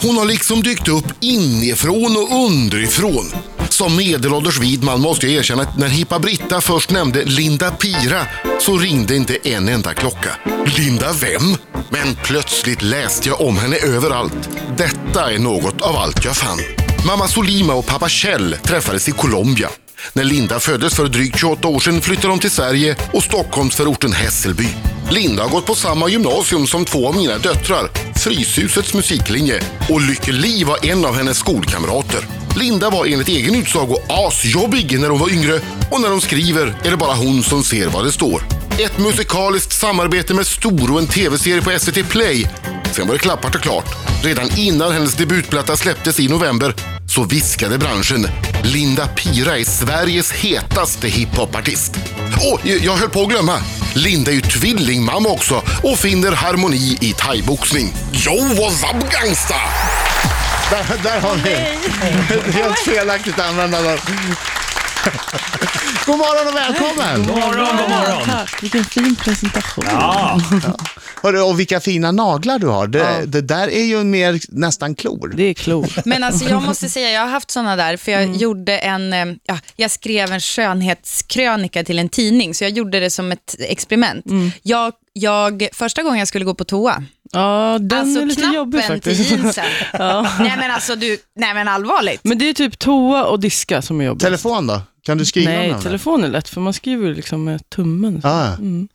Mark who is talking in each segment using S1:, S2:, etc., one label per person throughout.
S1: Hon har liksom dykt upp inifrån och underifrån. Som medelålders vid man måste jag erkänna att när Hippa Britta först nämnde Linda Pira så ringde inte en enda klocka. Linda vem? Men plötsligt läste jag om henne överallt. Detta är något av allt jag fann. Mamma Solima och pappa Kjell träffades i Colombia. När Linda föddes för drygt 28 år sedan flyttade de till Sverige och Stockholmsförorten Hässelby. Linda har gått på samma gymnasium som två av mina döttrar, Fryshusets musiklinje och Lykke Li var en av hennes skolkamrater. Linda var enligt egen utsago asjobbig när hon var yngre och när hon skriver är det bara hon som ser vad det står. Ett musikaliskt samarbete med Stor och en tv-serie på SVT Play. Sen var det klappat och klart. Redan innan hennes debutplatta släpptes i november så viskade branschen Linda Pira är Sveriges hetaste hiphopartist. Och jag höll på att glömma. Linda är ju tvillingmamma också och finner harmoni i thaiboxning. Yo, what's up gangsta?
S2: Där, där har ni ett helt felaktigt användande. av- God morgon och välkommen!
S3: morgon, god morgon.
S4: Tack, vilken fin presentation.
S3: Ja,
S2: Hörru, och vilka fina naglar du har. Det, det där är ju mer nästan klor.
S4: Det är klokt.
S5: Men alltså jag måste säga, jag har haft sådana där, för jag gjorde en, eh, ja, jag skrev en skönhetskrönika till en tidning, så jag gjorde det som ett experiment. Jag, jag, första gången jag skulle gå på toa,
S4: Ja, den är
S5: alltså
S4: lite jobbig
S5: knappen till
S4: faktiskt.
S5: jeansen.
S4: Ja.
S5: Nej men alltså du, nej men allvarligt.
S4: Men det är typ toa och diska som är jobbigt.
S2: Telefon då? Kan du skriva
S4: Nej,
S2: någon?
S4: telefon är lätt för man skriver ju liksom med tummen.
S2: Ja, ja. ta en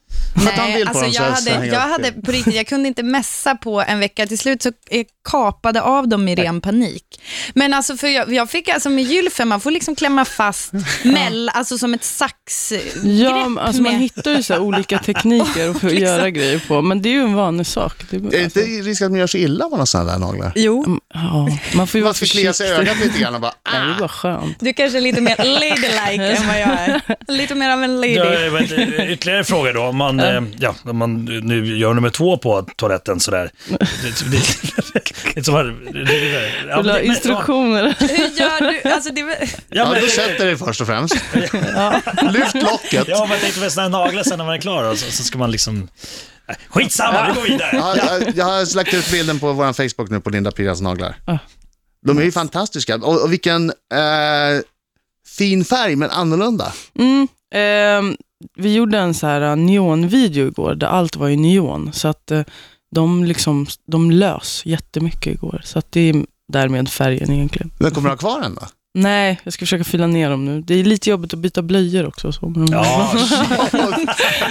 S5: Nej,
S2: bild på dem så
S5: Alltså, jag,
S2: jag ska
S5: hade,
S2: hänga
S5: jag
S2: upp
S5: hade på riktigt, jag kunde inte mässa på en vecka. Till slut så eh, kapade av dem i ren panik. Men alltså, för jag, jag fick alltså med gylfen, man får liksom klämma fast, mell, alltså som ett saxgrepp.
S4: Ja, men alltså man
S5: med-
S4: hittar ju så här olika tekniker för att göra grejer på, men det är ju en vanesak. Det,
S2: Är det
S4: alltså,
S2: inte risk att man gör sig illa om man har sådana där naglar?
S5: Jo.
S4: ja, man får ju vara
S2: Man får klia
S4: försiktig.
S2: sig i ögat lite grann och bara...
S4: Det är
S2: Ah.
S4: ju bara skönt.
S5: Du kanske är lite mer ladylike än vad jag är. Lite mer av en lady.
S3: jag vet, ytterligare fråga då. Om man, eh, ja, om man nu gör nummer två på toaletten sådär. Det, det, det, det, som här- det, det, det, ja,
S4: Vill du ha
S3: men-
S4: instruktioner?
S5: Hur gör du? Alltså det, är väl-
S3: Ja,
S2: Ja,
S3: men,
S2: du sätter dig först och främst. Lyft locket.
S3: ja, men jag tänkte med sådana här naglar sen när man är klar och så, så ska man liksom... Nej, Skitsamma, vi går vidare.
S2: Ja, jag, jag har lagt ut bilden på vår Facebook nu på Linda Piras naglar.
S4: Ah.
S2: De är ju fantastiska. Och, och vilken eh, fin färg, men annorlunda.
S4: Mm, ehm, vi gjorde en så här eh, neonvideo igår, där allt var i neon. Så att eh, de, liksom, de lös jättemycket igår. Så att det är därmed färgen egentligen.
S2: Men kommer du ha kvar den då?
S4: Nej, jag ska försöka fylla ner dem nu. Det är lite jobbigt att byta blöjor också. och Så. men-
S3: Ja,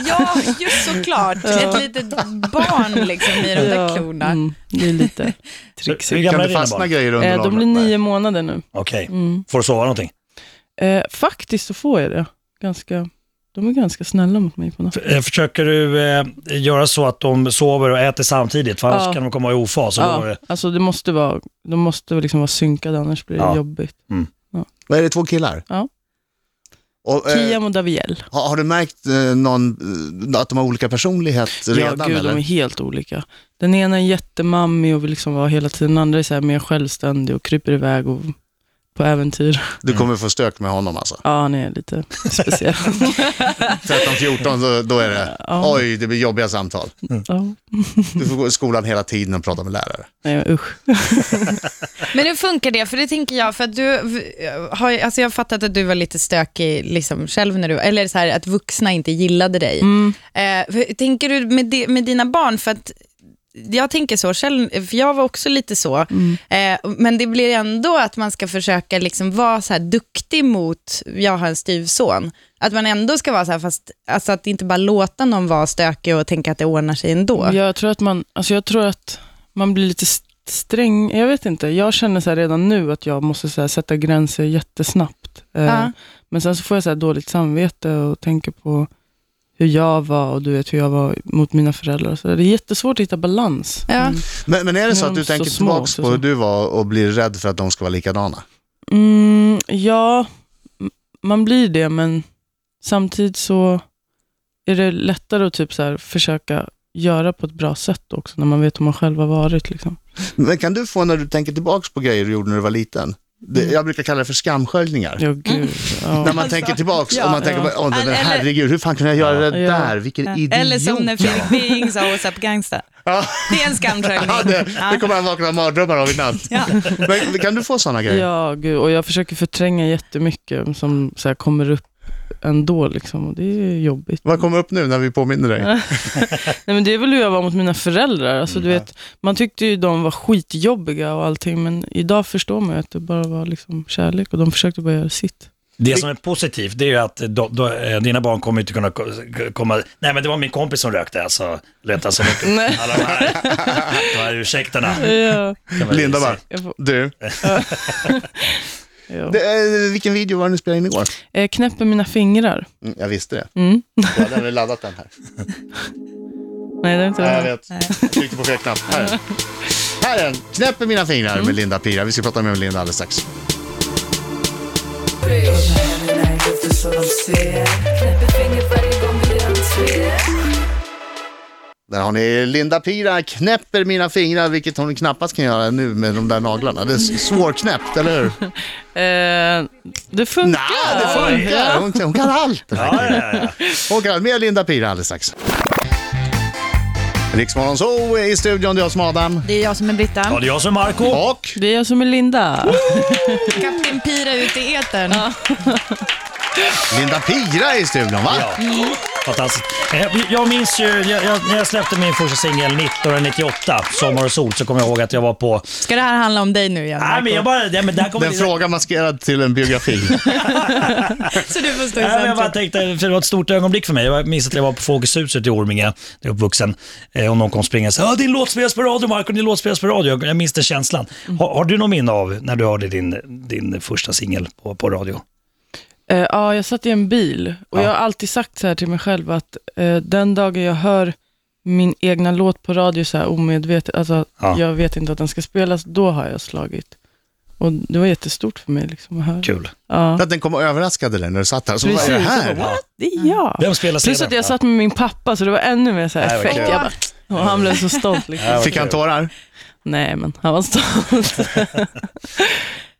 S5: ja, just såklart. Ett litet barn liksom i de där klorna.
S4: mm, det är lite
S3: Hur
S4: trixigt.
S3: gamla
S2: Kan
S3: är
S2: det
S3: dina
S2: fastna
S3: barn?
S2: grejer under
S4: Eh, de blir
S2: naglarna? Nej.
S4: nio månader nu.
S3: Okej,
S4: Mm.
S3: får du sova någonting?
S4: Eh, faktiskt så får jag det. Ganska, de är ganska snälla mot mig på natten.
S3: F- eh, Försöker du eh, göra så att de sover och äter samtidigt? För annars
S4: Ja.
S3: kan de komma i ofas. Och då,
S4: Ja, alltså det måste vara, de måste liksom vara synkade, annars blir det
S3: Ja.
S4: jobbigt.
S2: Vad är det, två killar?
S4: Ja.
S3: Äh.
S2: Och, eh,
S4: Kiam och Daviel.
S2: har, har du märkt eh, någon, eh, att de har olika personlighet redan?
S4: ja, gud,
S2: eller?
S4: de är helt olika. Den ena är jättemammig och vill liksom vara hela tiden, den andra är så här mer självständig och kryper iväg och på äventyr.
S2: Du
S4: Mm.
S2: kommer få stök med honom alltså.
S4: Ja, han är lite speciell.
S2: 13-14, då, då är det,
S4: Ja.
S2: oj, det blir jobbiga samtal.
S4: ja.
S2: Du får gå i skolan hela tiden och prata med lärare.
S4: Nej, usch.
S5: Men hur funkar det? För det tänker jag, för att du eh, har, ju- alltså jag har fattat att du var lite stökig liksom själv när du, eller så här att vuxna inte gillade dig. Eh, för, tänker du med, di- med dina barn, för att jag tänker så själv, för jag var också lite så, eh, men det blir ändå att man ska försöka liksom vara så här duktig mot, jag har en styvson, att man ändå ska vara så här, fast alltså att inte bara låta någon vara stökig och tänka att det ordnar sig ändå.
S4: Jag tror att man, alltså jag tror att man blir lite st- sträng, jag vet inte, jag känner så här redan nu att jag måste så här sätta gränser jättesnabbt. Eh,
S5: Ja.
S4: Men sen så får jag så här dåligt samvete och tänker på hur jag var och du vet hur jag var mot mina föräldrar. Så det är jättesvårt att hitta balans.
S5: Ja.
S2: Men, men är det så
S4: Ja,
S2: att du
S4: så
S2: tänker
S4: små
S2: tillbaka
S4: också,
S2: på
S4: så.
S2: hur du var och blir rädd för att de ska vara likadana?
S4: Mm, ja, m- man blir det, men samtidigt så är det lättare att typ så här försöka göra på ett bra sätt också, när man vet hur man själv har varit. Liksom.
S2: Men kan du få när du tänker tillbaka på grejer du gjorde när du var liten, Det, jag brukar kalla det för skamsköljningar.
S4: Ja, gud. Mm. Ja.
S2: När man tänker tillbaks
S5: Ja.
S2: och man tänker,
S4: Ja.
S2: bara, åh, nej, men
S6: Eller-
S2: herregud, hur fan kunde jag göra det
S4: Ja.
S2: där? Vilken idiot.
S6: Eller som när
S2: jag
S6: Fredrik Bing sa hos Up Gangsta. Det är en skamsköljning.
S2: var. det, det kommer jag vakna av mardrömmar av i natt.
S6: Ja.
S2: Men, kan du få sådana grejer?
S4: Ja, gud. Och jag försöker förtränga jättemycket som så här, kommer upp ändå. Liksom, och det är jobbigt.
S2: Vad kommer upp nu när vi påminner dig?
S4: Nej, men det är väl hur jag var mot mina föräldrar. Alltså, du vet, man tyckte ju de var skitjobbiga och allting, men idag förstår man ju att det bara var liksom kärlek och de försökte bara göra sitt.
S3: Det som är positivt det är ju att då, då, eh, dina barn kommer inte kunna ko- komma... Nej men det var min kompis som rökte alltså. Leta så mycket.
S4: Nej.
S3: Alla de här, de här ursäkterna.
S4: Ja,
S3: kan man ju
S2: Linda
S3: säga.
S2: bara,
S4: jag får,
S2: du,
S4: ja.
S2: det, eh, vilken video var det ni spelade in igår?
S4: Eh, knäpper mina fingrar.
S2: Mm, jag visste det.
S4: Mm.
S2: Jag hade väl laddat den här.
S4: Nej, det är inte
S2: Ja, jag
S4: det.
S2: vet. Jag tryckte på fel knapp. Här är den. Här är den. Knäpper mina fingrar med Linda Pira. Vi ska prata med Linda alldeles strax. Där har ni Linda Pira knäpper mina fingrar, vilket hon knappast kan göra nu med de där naglarna. Det är svårknäppt, eller hur?
S4: Eh, det
S2: Nej,
S4: funkar.
S2: det funkar. Hon, hon kan allt. den här
S3: Ja, ja, ja.
S2: och kan med Linda Pira alldeles strax. Riksmorgon så i studion, det är jag som är Adam.
S5: Det är jag som är
S3: ja,
S5: Britta.
S3: det är jag som är Marco.
S2: Och
S4: Det är jag som är Linda.
S5: Kapten Pira ut i etern.
S2: Linda Pira i studion, va?
S3: Ja. Fantastiskt. Eh, Jag minns ju, jag, jag, när jag släppte min första singel 1998, Sommar och sol, så kommer jag ihåg att jag var på...
S5: Ska det här handla om dig nu igen?
S3: Nej, men jag
S5: Marco?
S3: bara... Nej, men där kommer
S2: Den frågan maskerad till en biografi.
S5: Så du får stå i
S3: Nej, men jag bara
S5: centrum.
S3: tänkte, för det var ett stort ögonblick för mig. Jag minns att jag var på Folkets huset i Orminge, där jag är uppvuxen, eh, och någon kom springa och sa "Ah, “Din låt spelas på radio, Marco, din låt spelas på radio”. Jag- Jag minns den känslan. Har, har du någon minne av när du hörde din, din första singel på, på radio?
S4: Eh, ja, jag satt i en bil och
S3: Ja.
S4: jag har alltid sagt så här till mig själv att eh, den dagen jag hör min egna låt på radio så här omedvetet, alltså
S3: Ja.
S4: jag vet inte att den ska spelas, då har jag slagit. Och det var jättestort för mig liksom att höra.
S3: Kul.
S4: Ja.
S2: För att den kom och överraskade dig när du satt här. Så vad är det
S4: Precis.
S2: här?
S4: What? Det är jag.
S3: Vem spelar
S4: Plus
S3: sedan?
S4: att jag satt med min pappa, så det var ännu mer så
S3: Nej,
S4: här
S3: vad
S4: fräck.
S3: kul.
S4: Jag bara, och han blev så stolt. Liksom.
S2: Fick han tårar?
S4: Nej, men han var stolt.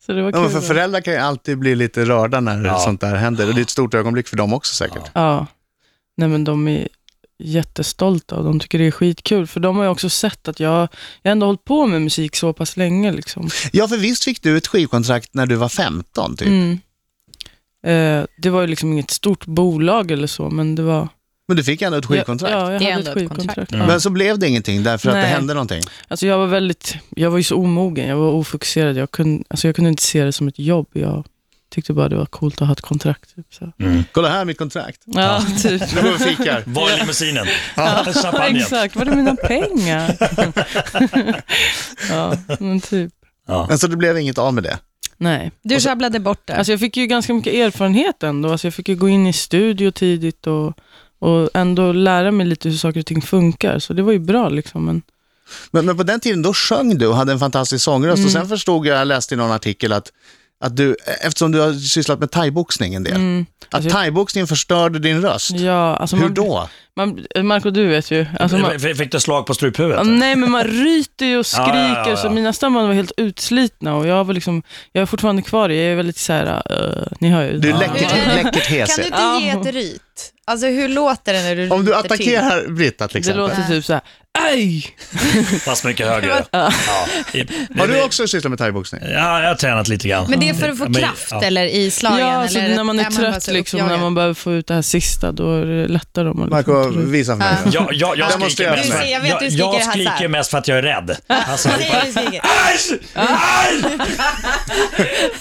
S4: så det
S2: Ja,
S4: var kul.
S2: men för
S4: då.
S2: föräldrar kan ju alltid bli lite rörda när
S3: Ja.
S2: sånt där händer. Och det är ett stort ögonblick för dem också säkert.
S3: Ja.
S4: Ja. Nej, men de är jättestolta och de tycker det är skitkul. För de har ju också sett att jag, jag har ändå hållit på med musik så pass länge. Liksom.
S2: Ja, för visst fick du ett skivkontrakt när du var 15, typ.
S4: Mm. Eh, det var ju liksom inget stort bolag eller så, men det var...
S2: Men du fick ändå ett skivkontrakt.
S4: Ja, jag
S5: Det är
S4: hade
S5: ändå
S4: ett
S5: ett kontrakt.
S4: skivkontrakt.
S3: Mm.
S4: Ja.
S2: Men så blev det ingenting därför att det
S4: Nej.
S2: hände någonting.
S4: Alltså jag var väldigt, jag var ju så omogen, jag var ofokuserad. Jag kunde, alltså jag kunde inte se det som ett jobb. Jag tyckte bara det var coolt att ha ett kontrakt. Typ, så.
S2: Kolla här, mitt kontrakt.
S4: Ja, typ.
S2: Nu går vi och fikar.
S3: Var är limmusinen? Ja. Champagnen.
S4: Exakt, var är mina pengar? ja, men typ.
S3: Ja.
S2: Men så det blev inget av med det.
S4: Nej.
S5: Du sjabblade bort det.
S4: Alltså jag fick ju ganska mycket erfarenhet ändå. Alltså jag fick ju gå in i studio tidigt och, och ändå lära mig lite hur saker och ting funkar. Så det var ju bra liksom. Men,
S2: Men, men på den tiden då sjöng du och hade en fantastisk sångröst och
S4: Mm.
S2: sen förstod jag, jag läste i någon artikel att, att du, eftersom du har sysslat med thaiboxning en del, att
S4: Alltså-
S2: thaiboxningen förstörde din röst.
S4: ja, alltså
S2: Hur
S4: man,
S2: då?
S4: Man, Marco, du vet ju. Alltså man,
S3: F- Fick du slag på struphuvudet?
S4: Ja, nej, men man ryter ju och skriker.
S3: Ja, ja, ja, ja.
S4: Så mina stämband var helt utslitna och jag var liksom, jag är fortfarande kvar i, jag är väldigt så här, eh, ni hör ju.
S2: Du är
S4: Ja.
S2: läckert, läckert
S5: kan du
S2: hesig.
S5: inte ge ett ryt? Alltså hur låter det när du
S2: Om du
S5: ryter till?
S2: attackerar Britta till
S4: Det
S2: exempel.
S4: låter typ så här, aj!
S3: Fast mycket högre. Ja. I-
S2: Har du också sysslat med thaiboxning?
S4: Eh,
S3: Ja, jag har tränat lite grann.
S5: Men det är för att
S3: Ja,
S5: få
S3: men-
S5: kraft
S3: ja.
S5: eller i slagen?
S4: ja, så
S5: eller
S4: när man är
S5: bara
S4: trött
S5: så
S4: liksom,
S5: uppjagad?
S4: när man behöver få ut det här sista, då är det lättare om man liksom,
S2: Marco,
S4: tar ut-
S2: visa för mig.
S5: Ja.
S3: Ja, ja, jag skriker,
S2: Demonstrera
S3: mest,
S2: för
S3: för,
S2: mig.
S5: Jag vet att du
S3: jag,
S5: skriker
S3: jag
S5: det här så här.
S3: skriker mest för att jag är rädd. Alltså,
S5: Nej, det är säkert.
S3: Aj!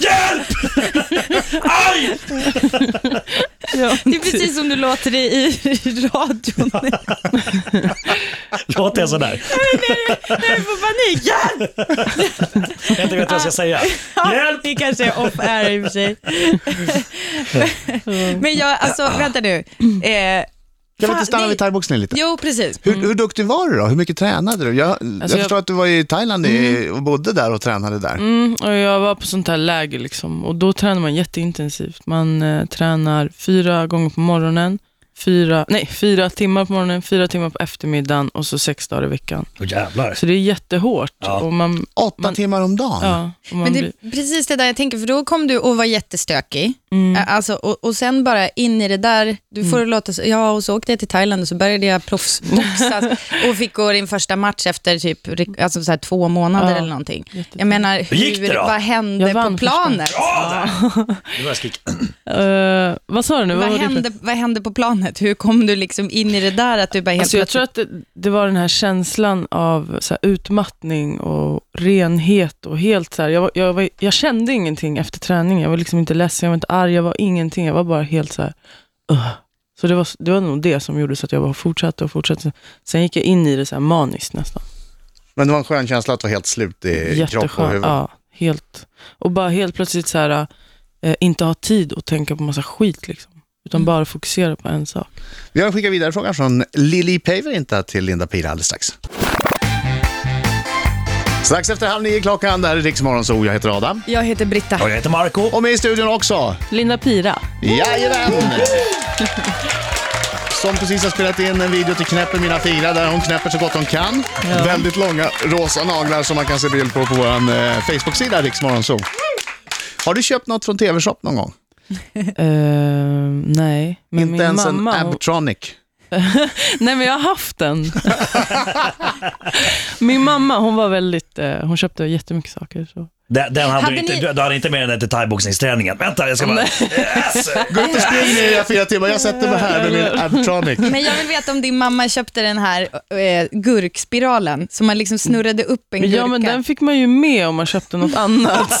S3: Aj! Hjälp! Aj!
S4: Ja,
S5: Det är precis som du låter i, i radion.
S3: Låter jag sådär?
S5: Jag får panik. Ja!
S3: Jag vet inte vad jag ska säga. Hjälp!
S5: Det kanske är off air i och för sig. Men jag, alltså vänta nu. Eh,
S2: Kan vi
S5: fan,
S2: inte stanna
S5: nej.
S2: vid thaiboxning lite?
S5: Jo, precis.
S2: Hur, hur duktig var du då? Hur mycket tränade du? Jag, jag
S4: Mm. Alltså, jag-
S2: förstår att du var i Thailand i, och bodde där och tränade där.
S4: Mm, och jag var på sånt här läger liksom, och då tränar man jätteintensivt. Man eh, tränar fyra gånger på morgonen, fyra, nej, fyra timmar på morgonen, fyra timmar på eftermiddagen och så sex dagar i veckan.
S3: Åh jävlar.
S4: Så det är jättehårt.
S3: Ja.
S4: Och man,
S2: Åtta timmar om dagen?
S4: Mm. ja, och man
S5: Men det
S4: blir,
S5: är precis det där jag tänker, för då kom du och var jättestökig.
S4: Mm.
S5: Ä- Alltså, och, och sen bara in i det där, du får det låta så, ja och så åkte jag till Thailand och så började jag proffsboxas och fick gå din första match efter typ ry- alltså så här två månader
S4: Ja,
S5: eller någonting.
S4: jättefint.
S5: Jag menar, hur,
S3: gick det då?
S5: vad hände
S4: Jag vann
S5: på planet?
S3: Nu börjar jag skrika.
S4: Eh, vad sa du nu?
S5: Vad
S4: var det för-
S5: hände, vad hände på planet? Hur kom du liksom in i det där att du bara helt
S4: Alltså jag
S5: plötsligt...
S4: tror att det, det var den här känslan av så här, utmattning och renhet. och helt så här, jag, var- jag, var, jag kände ingenting efter träningen. Jag var liksom inte ledsen, jag var inte arg, jag var ingenting. Jag var bara helt så här... "Ugh." Så det var, det var nog det som gjorde så att jag bara fortsatte och fortsatte. Sen gick jag in i det så här maniskt nästan.
S2: Men det var en skön känsla att vara helt slut i Eh, kropp och
S4: Jätteskönt.
S2: huvud.
S4: Ja, helt. Och bara helt plötsligt så här, eh, inte ha tid att tänka på massa skit. Liksom, utan bara fokusera på en sak.
S2: Vi har skickat vidare frågan från Lili Päivärinta till Linda Pira alldeles strax. Strax efter halv nio klockan, det här är Riksmorgon, så jag heter Adam.
S5: Jag heter Britta.
S3: Och jag heter Marco.
S2: Och med i studion också,
S4: Linda Pira.
S2: jajamän! Som precis har spelat in en video till Knäpper mina fingrar där hon knäpper så gott hon kan. Väldigt långa rosa naglar som man kan se bild på på vår eh, Facebook-sida Riksmorgon Zoo. Har du köpt något från TV-shop någon gång?
S4: Eh, nej, men min
S2: Inte ens
S4: mamma...
S2: en
S4: hon-
S2: Abtronic?
S4: Nej men jag har haft den. Min mamma hon var väldigt, eh, hon köpte jättemycket saker. Så.
S3: Den, den hade
S5: Hade
S3: du, inte,
S5: ni-
S3: du, du hade inte med den där till thaiboxningsträningen. Vänta, jag ska bara... Yes!
S2: Gå ut och spring i era fyra timmar, jag sätter mig här med min Abtronic.
S5: Men jag vill veta om din mamma köpte den här eh, gurkspiralen som man liksom snurrade upp en gurka.
S4: Ja men den fick man ju med om man köpte något annat.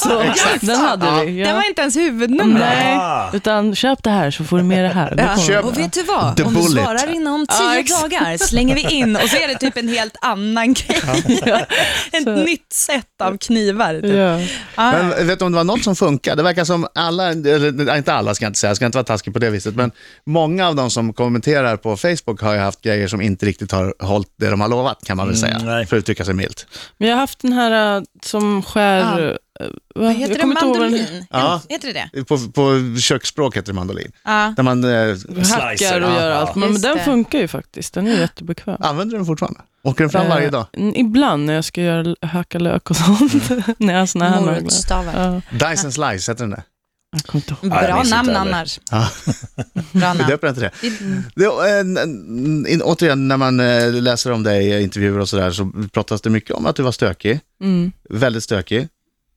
S4: Så den hade vi.
S5: Den
S4: Ja.
S5: var inte ens huvudnumret.
S4: Nej,
S3: Ah.
S4: utan köp det här så får du med det här. Det kommer.
S2: Köp
S6: Och vet du vad?
S2: The
S6: Om du
S2: bullet.
S6: svarar inom tio
S4: Ja, exakt.
S6: dagar slänger vi in och så är det typ en helt annan grej.
S5: Ett
S4: Så-
S5: nytt sätt av knivar. Typ.
S4: Ja.
S5: Ah.
S2: Men vet du om det var något som funkar? Det verkar som alla, eller inte alla ska jag inte säga, jag ska inte vara taskig på det viset, men många av de som kommenterar på Facebook har ju haft grejer som inte riktigt har hållit det de har lovat, kan man väl säga,
S3: Mm, nej.
S2: för att uttrycka sig milt.
S4: Men jag har haft den här eh, som skär...
S5: Ja.
S4: eh,
S5: Ah. Vad
S4: vad
S5: heter
S4: jag
S5: det?
S4: kommer inte ihåg vad den-
S5: Mandolin?
S2: Ja.
S5: Heter det det?
S2: På, på köksspråk heter det mandolin.
S5: Ja.
S2: Där man, eh,
S3: Slicer,
S4: Hackar och
S3: ja,
S4: gör
S3: ja.
S4: allt. Men
S5: Just
S4: den
S5: det. Ah.
S4: funkar ju faktiskt. Den är jättebekväm.
S2: använder du den fortfarande? Åker den fram varje dag?
S4: Eh, Ibland när jag ska göra, hacka lök och sånt. när jag har såna här naglar.
S5: Morotsstavar.
S4: Ja,
S2: Dyson Slice, heter den det?
S4: jag kommer inte ihåg.
S3: jag
S5: Bra
S3: minns inte
S5: namn
S3: heller.
S5: annars.
S2: Ja.
S5: Bra
S2: Vi
S5: namn.
S2: döper den till det. det eh, n- n- in, återigen, när man eh, läser om dig i intervjuer och sådär så pratas det mycket om att du var stökig.
S4: Mm.
S2: väldigt stökig.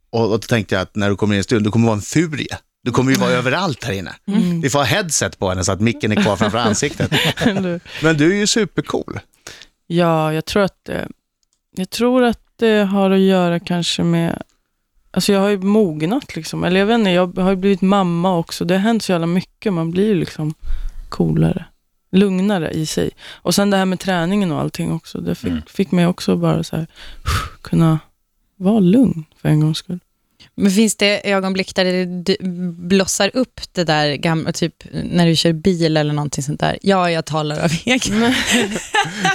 S2: Och, och då tänkte jag att när du kommer in i studion, du kommer vara en furie. Du kommer ju vara överallt här inne. Vi får ha headset på henne så att micken är kvar framför ansiktet.
S4: Eller-
S2: Men du är ju supercool.
S4: Ja, jag tror att det, jag tror att det har att göra kanske med... Alltså jag har ju mognat liksom. Eller jag vet inte, jag har ju blivit mamma också. Det har hänt så jävla mycket. Man blir ju liksom coolare, lugnare i sig. Och sen det här med träningen och allting också. Det fick,
S3: Mm.
S4: fick mig också bara så här, kunna vara lugn för en gångs skull.
S5: Men finns det ögonblick där det d- blossar upp det där gamla, typ när du kör bil eller någonting sånt där? Ja, jag talar av egen.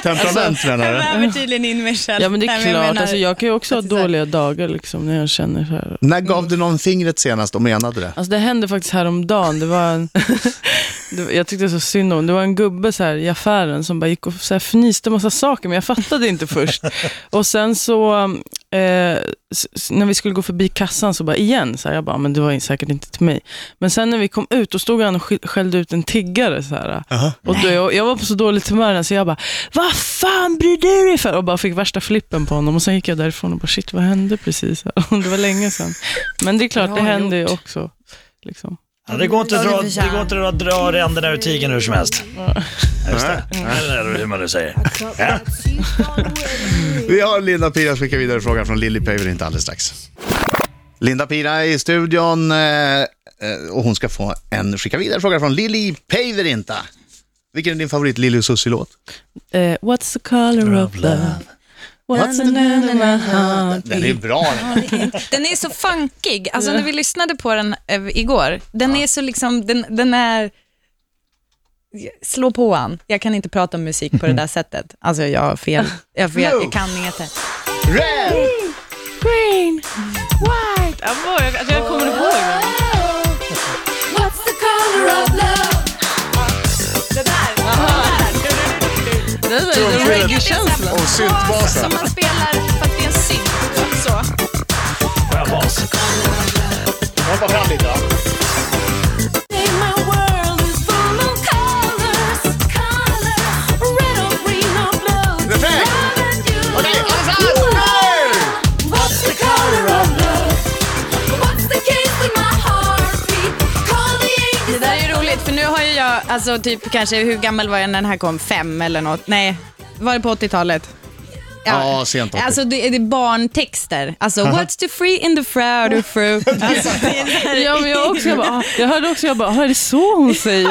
S2: Temperament menar du?
S5: Jag väver tydligen in mig själv.
S4: Ja men det är
S5: Nej, jag
S4: klart.
S5: menar-
S4: alltså jag kan ju också ha
S5: att det är så här-
S4: dåliga dagar liksom, när jag känner så här,
S2: När gav du någon fingret senast och menade det?
S4: Alltså det hände faktiskt häromdagen. Det var en, det, var- jag tyckte så synd om Det var en gubbe så här i affären som bara gick och så här fnyste massa saker, men jag fattade inte först. Och sen så, eh, s- s- när vi skulle gå förbi kassan så bara igen, så här, jag bara, men det var säkert inte till mig. Men sen när vi kom ut, då stod han och sk- skällde ut en tiggare. Så här. Och då, jag, jag var på så dåligt humör, så jag bara, vad fan bryr du dig för? Och bara fick värsta flippen på honom. Och sen gick jag därifrån och bara, shit vad hände precis? Det var länge sedan. Men det är klart,
S5: Bra
S4: det händer ju
S5: gjort.
S4: också. Liksom.
S3: Ja, det går inte att
S5: Ja, det
S3: dra,
S5: är för jävla.
S3: det går inte att dra ränderna ur tigern hur som helst. Just det. Eller hur man nu säger. Ja.
S2: Vi har Linda Pira som skickar vidare frågan från Lilly Paver inte alldeles strax. Linda Pira är i studion eh, eh, och hon ska få en skicka vidare fråga från Lilly Päivärinta. Vilken är din favorit Lilly och Susie-låt?
S4: Eh, what's the color of love? What's the name of my heart?
S2: Den är bra den.
S5: Den är så funkig. Alltså när vi lyssnade på den eh, igår, den är så liksom, den, den är... Slå på an. Jag kan inte prata om musik på det där sättet. Alltså jag har fel. Jag, har fel. jag kan inget. här.
S2: Red!
S4: Green, white. Ja, bra, jag, alltså, jag kommer ihåg den.
S7: What's the color of love?
S6: Det där,
S2: trumspelet.
S4: reggae-känsla.
S2: Och syntbasen.
S6: Som man spelar för att det är en synt. Så.
S2: Hoppa fram lite va? Refräng! Okej, alla fram! Hej!
S5: Det där är ju roligt, för nu har ju jag, alltså typ kanske, hur gammal var jag när den här kom? Fem eller något? Nej, var det på 80-talet?
S2: Ja, sent 80.
S5: Alltså det är det är barntexter. Alltså, what's the free in the fraud or fruit? Alltså, det är
S4: Ja, men jag, också, jag, bara, ah, jag hörde också, jag bara, ah, är det så hon säger?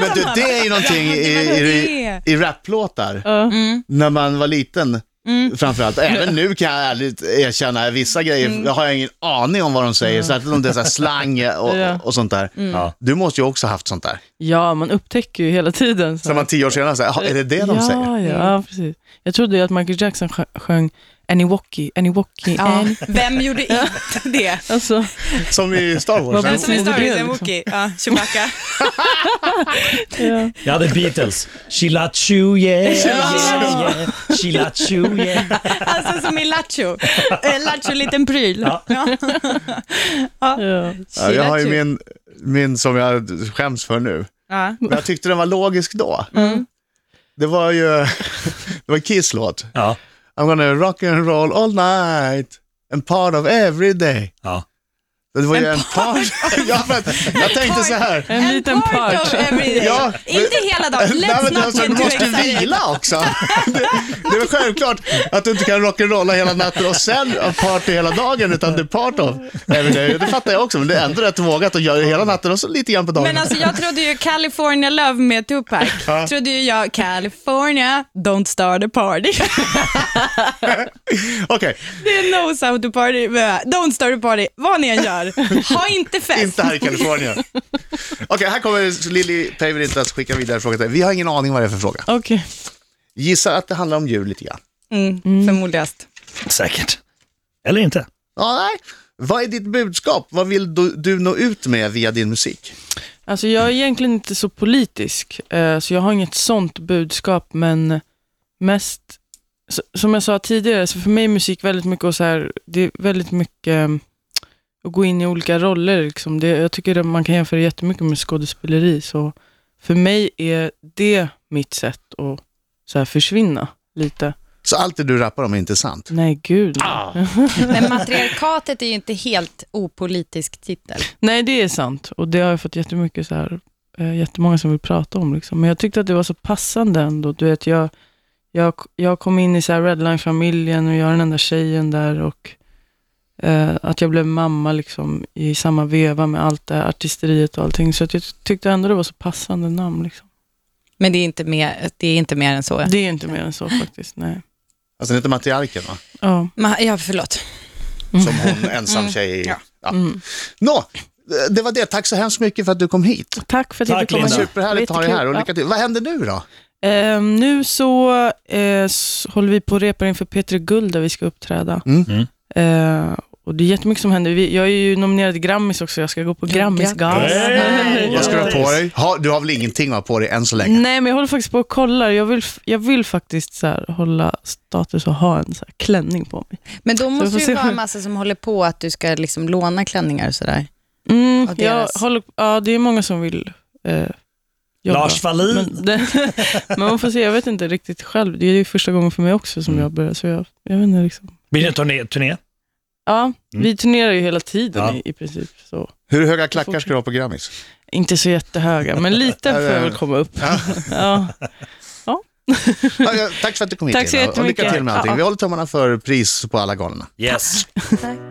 S2: Men du, det är ju någonting i, i, i raplåtar.
S4: Mm.
S2: När man var liten. Framförallt, även nu kan jag ärligt erkänna, vissa grejer
S4: Mm.
S2: jag har jag ingen aning om vad de säger, särskilt om det är så här slang
S4: Ja. Mm.
S2: och, och sånt där. Du måste ju också ha haft sånt där.
S4: Ja, man upptäcker ju hela tiden. Så.
S2: Sen man tio år senare, så här, "Jaha, är det det de
S4: ja,
S2: säger?
S4: Ja, ja, precis. Jag trodde ju att Michael Jackson sjö- sjöng Annie Walkie, Annie Walkie,
S5: Ja.
S4: Annie.
S6: Vem gjorde inte det?
S4: Alltså,
S2: Som i Star Wars.
S4: Vad
S2: va?
S4: bra.
S6: Men som i Star
S4: Gjorde det,
S6: Wars, en
S4: liksom.
S6: Wookie. Ja, Chewbacca.
S4: ja.
S3: Jag hade Beatles. Chilla chu yeah, yeah, yeah. Chilla chu yeah.
S6: Alltså som i Lattjo. Eh, Lattjo liten pryl. Ja.
S4: Ja.
S2: Ja, jag har ju
S4: typ?
S2: min, min som jag skäms för nu.
S6: Ja.
S2: Men jag tyckte den var logisk då.
S4: Mm.
S2: Det var ju, det var Kiss låt.
S3: Ja,
S2: I'm gonna rock and roll all night and part of every day.
S3: ja.
S2: Det var ju en part. ja, men, jag tänkte så här.
S4: En liten part.
S6: of every day.
S2: Ja, men-
S6: Inte hela dagen.
S2: Nej,
S6: Let's
S2: men
S6: not
S2: alltså,
S6: get
S2: du
S6: too
S2: måste ju
S6: excited.
S2: vila också. Det, det är väl självklart att du inte kan rock'n'rolla hela natten och sen ha party hela dagen, utan det är part of. every day. Det fattar jag också, men det är ändå rätt vågat att göra det hela natten och så lite grann på dagen.
S6: Men alltså jag trodde ju California Love med Tupac, trodde ju jag California, don't start a party.
S2: Okej,
S6: Det är no sound to party, bö. don't start a party, vad ni än gör. Ha inte fest.
S2: inte här i Kalifornien. Okej, här kommer Lilly Päivärintas skicka vidare en fråga till dig. Vi har ingen aning vad det är för fråga.
S4: Okej.
S2: Gissar att det handlar om djur lite grann.
S6: Mm, Förmodligast.
S3: Säkert. Eller inte.
S2: Ja, nej. Vad är ditt budskap? Vad vill du, du nå ut med via din musik?
S4: Alltså jag är egentligen inte så politisk, eh, så jag har inget sånt budskap, men mest, s- som jag sa tidigare, så för mig är musik väldigt mycket och så här, det är väldigt mycket eh, att gå in i olika roller. Liksom. Det, jag tycker att man kan jämföra jättemycket med skådespeleri, så för mig är det mitt sätt att så här försvinna lite.
S2: Så allt det du rappar om är inte sant.
S4: Nej, gud.
S5: Men matriarkatet är ju inte helt opolitisk titel.
S4: Nej, det är sant. Och det har jag fått jättemycket så här, eh, jättemånga som vill prata om. Liksom. Men jag tyckte att det var så passande ändå. Du vet, jag, jag, jag kom in i så här Redline-familjen och jag är den enda tjejen där. Och eh, att jag blev mamma liksom, i samma veva med allt det här artisteriet och allting. Så att jag tyckte ändå det var så passande namn. Liksom.
S5: Men det är inte mer, det är inte mer än så.
S4: Det är inte mer än så faktiskt. Nej.
S2: Alltså den heter Matriarken va?
S4: Ja.
S5: Ma- Ja, förlåt.
S2: Som hon, ensam tjej. Mm. Ja. Mm. Ja. Nå, det var det. Tack så hemskt mycket för att du kom hit.
S4: Tack för att
S3: Tack,
S4: jag fick komma.
S2: Det var
S3: Linda.
S4: hit.
S2: superhärligt att ha dig här
S4: Jättekul.
S2: och
S4: Ja.
S2: lycka till. Vad händer nu då?
S4: Eh, nu så eh, s- håller vi på och repar inför Peter Guld där vi ska uppträda.
S2: Mm.
S3: Mm.
S4: Eh, och det är jättemycket som händer. Vi, jag är ju nominerad till Grammis också, jag ska gå på Grammis
S3: Hey!
S2: Vad ska du ha på dig? Mm. Ha, du har väl ingenting att ha på dig än så länge?
S4: Nej, men jag håller faktiskt på och kollar. Jag vill, f- jag vill faktiskt så här, hålla status och ha en så här, klänning på mig.
S5: Men då
S4: vi får
S5: måste det
S4: se.
S5: ju vara en massa som håller på att du ska liksom låna klänningar och sådär.
S4: Mm,
S5: Och
S4: jag
S5: deras.
S4: håller, ja, det är många som vill eh, jobba.
S3: Lars Wallin.
S4: Men, det, men man får se, jag vet inte riktigt själv. Det är ju första gången för mig också
S3: Mm.
S4: som jag börjar, så jag, jag vet inte. Liksom.
S3: Blir det en turné? turné?
S4: Ja, vi turnerar ju hela tiden
S3: Ja.
S4: i, i princip. Så.
S2: Hur höga klackar ska du ha på Grammis?
S4: Inte så jättehöga, men lite får jag väl komma upp. Ja.
S2: Ja, ja, Tack för att du kom hit
S4: Tack så
S2: Lena, och lycka
S4: jättemycket.
S2: till med allting.
S4: Ja.
S2: Vi håller tummarna för pris på alla galorna.
S3: Yes.
S5: Tack.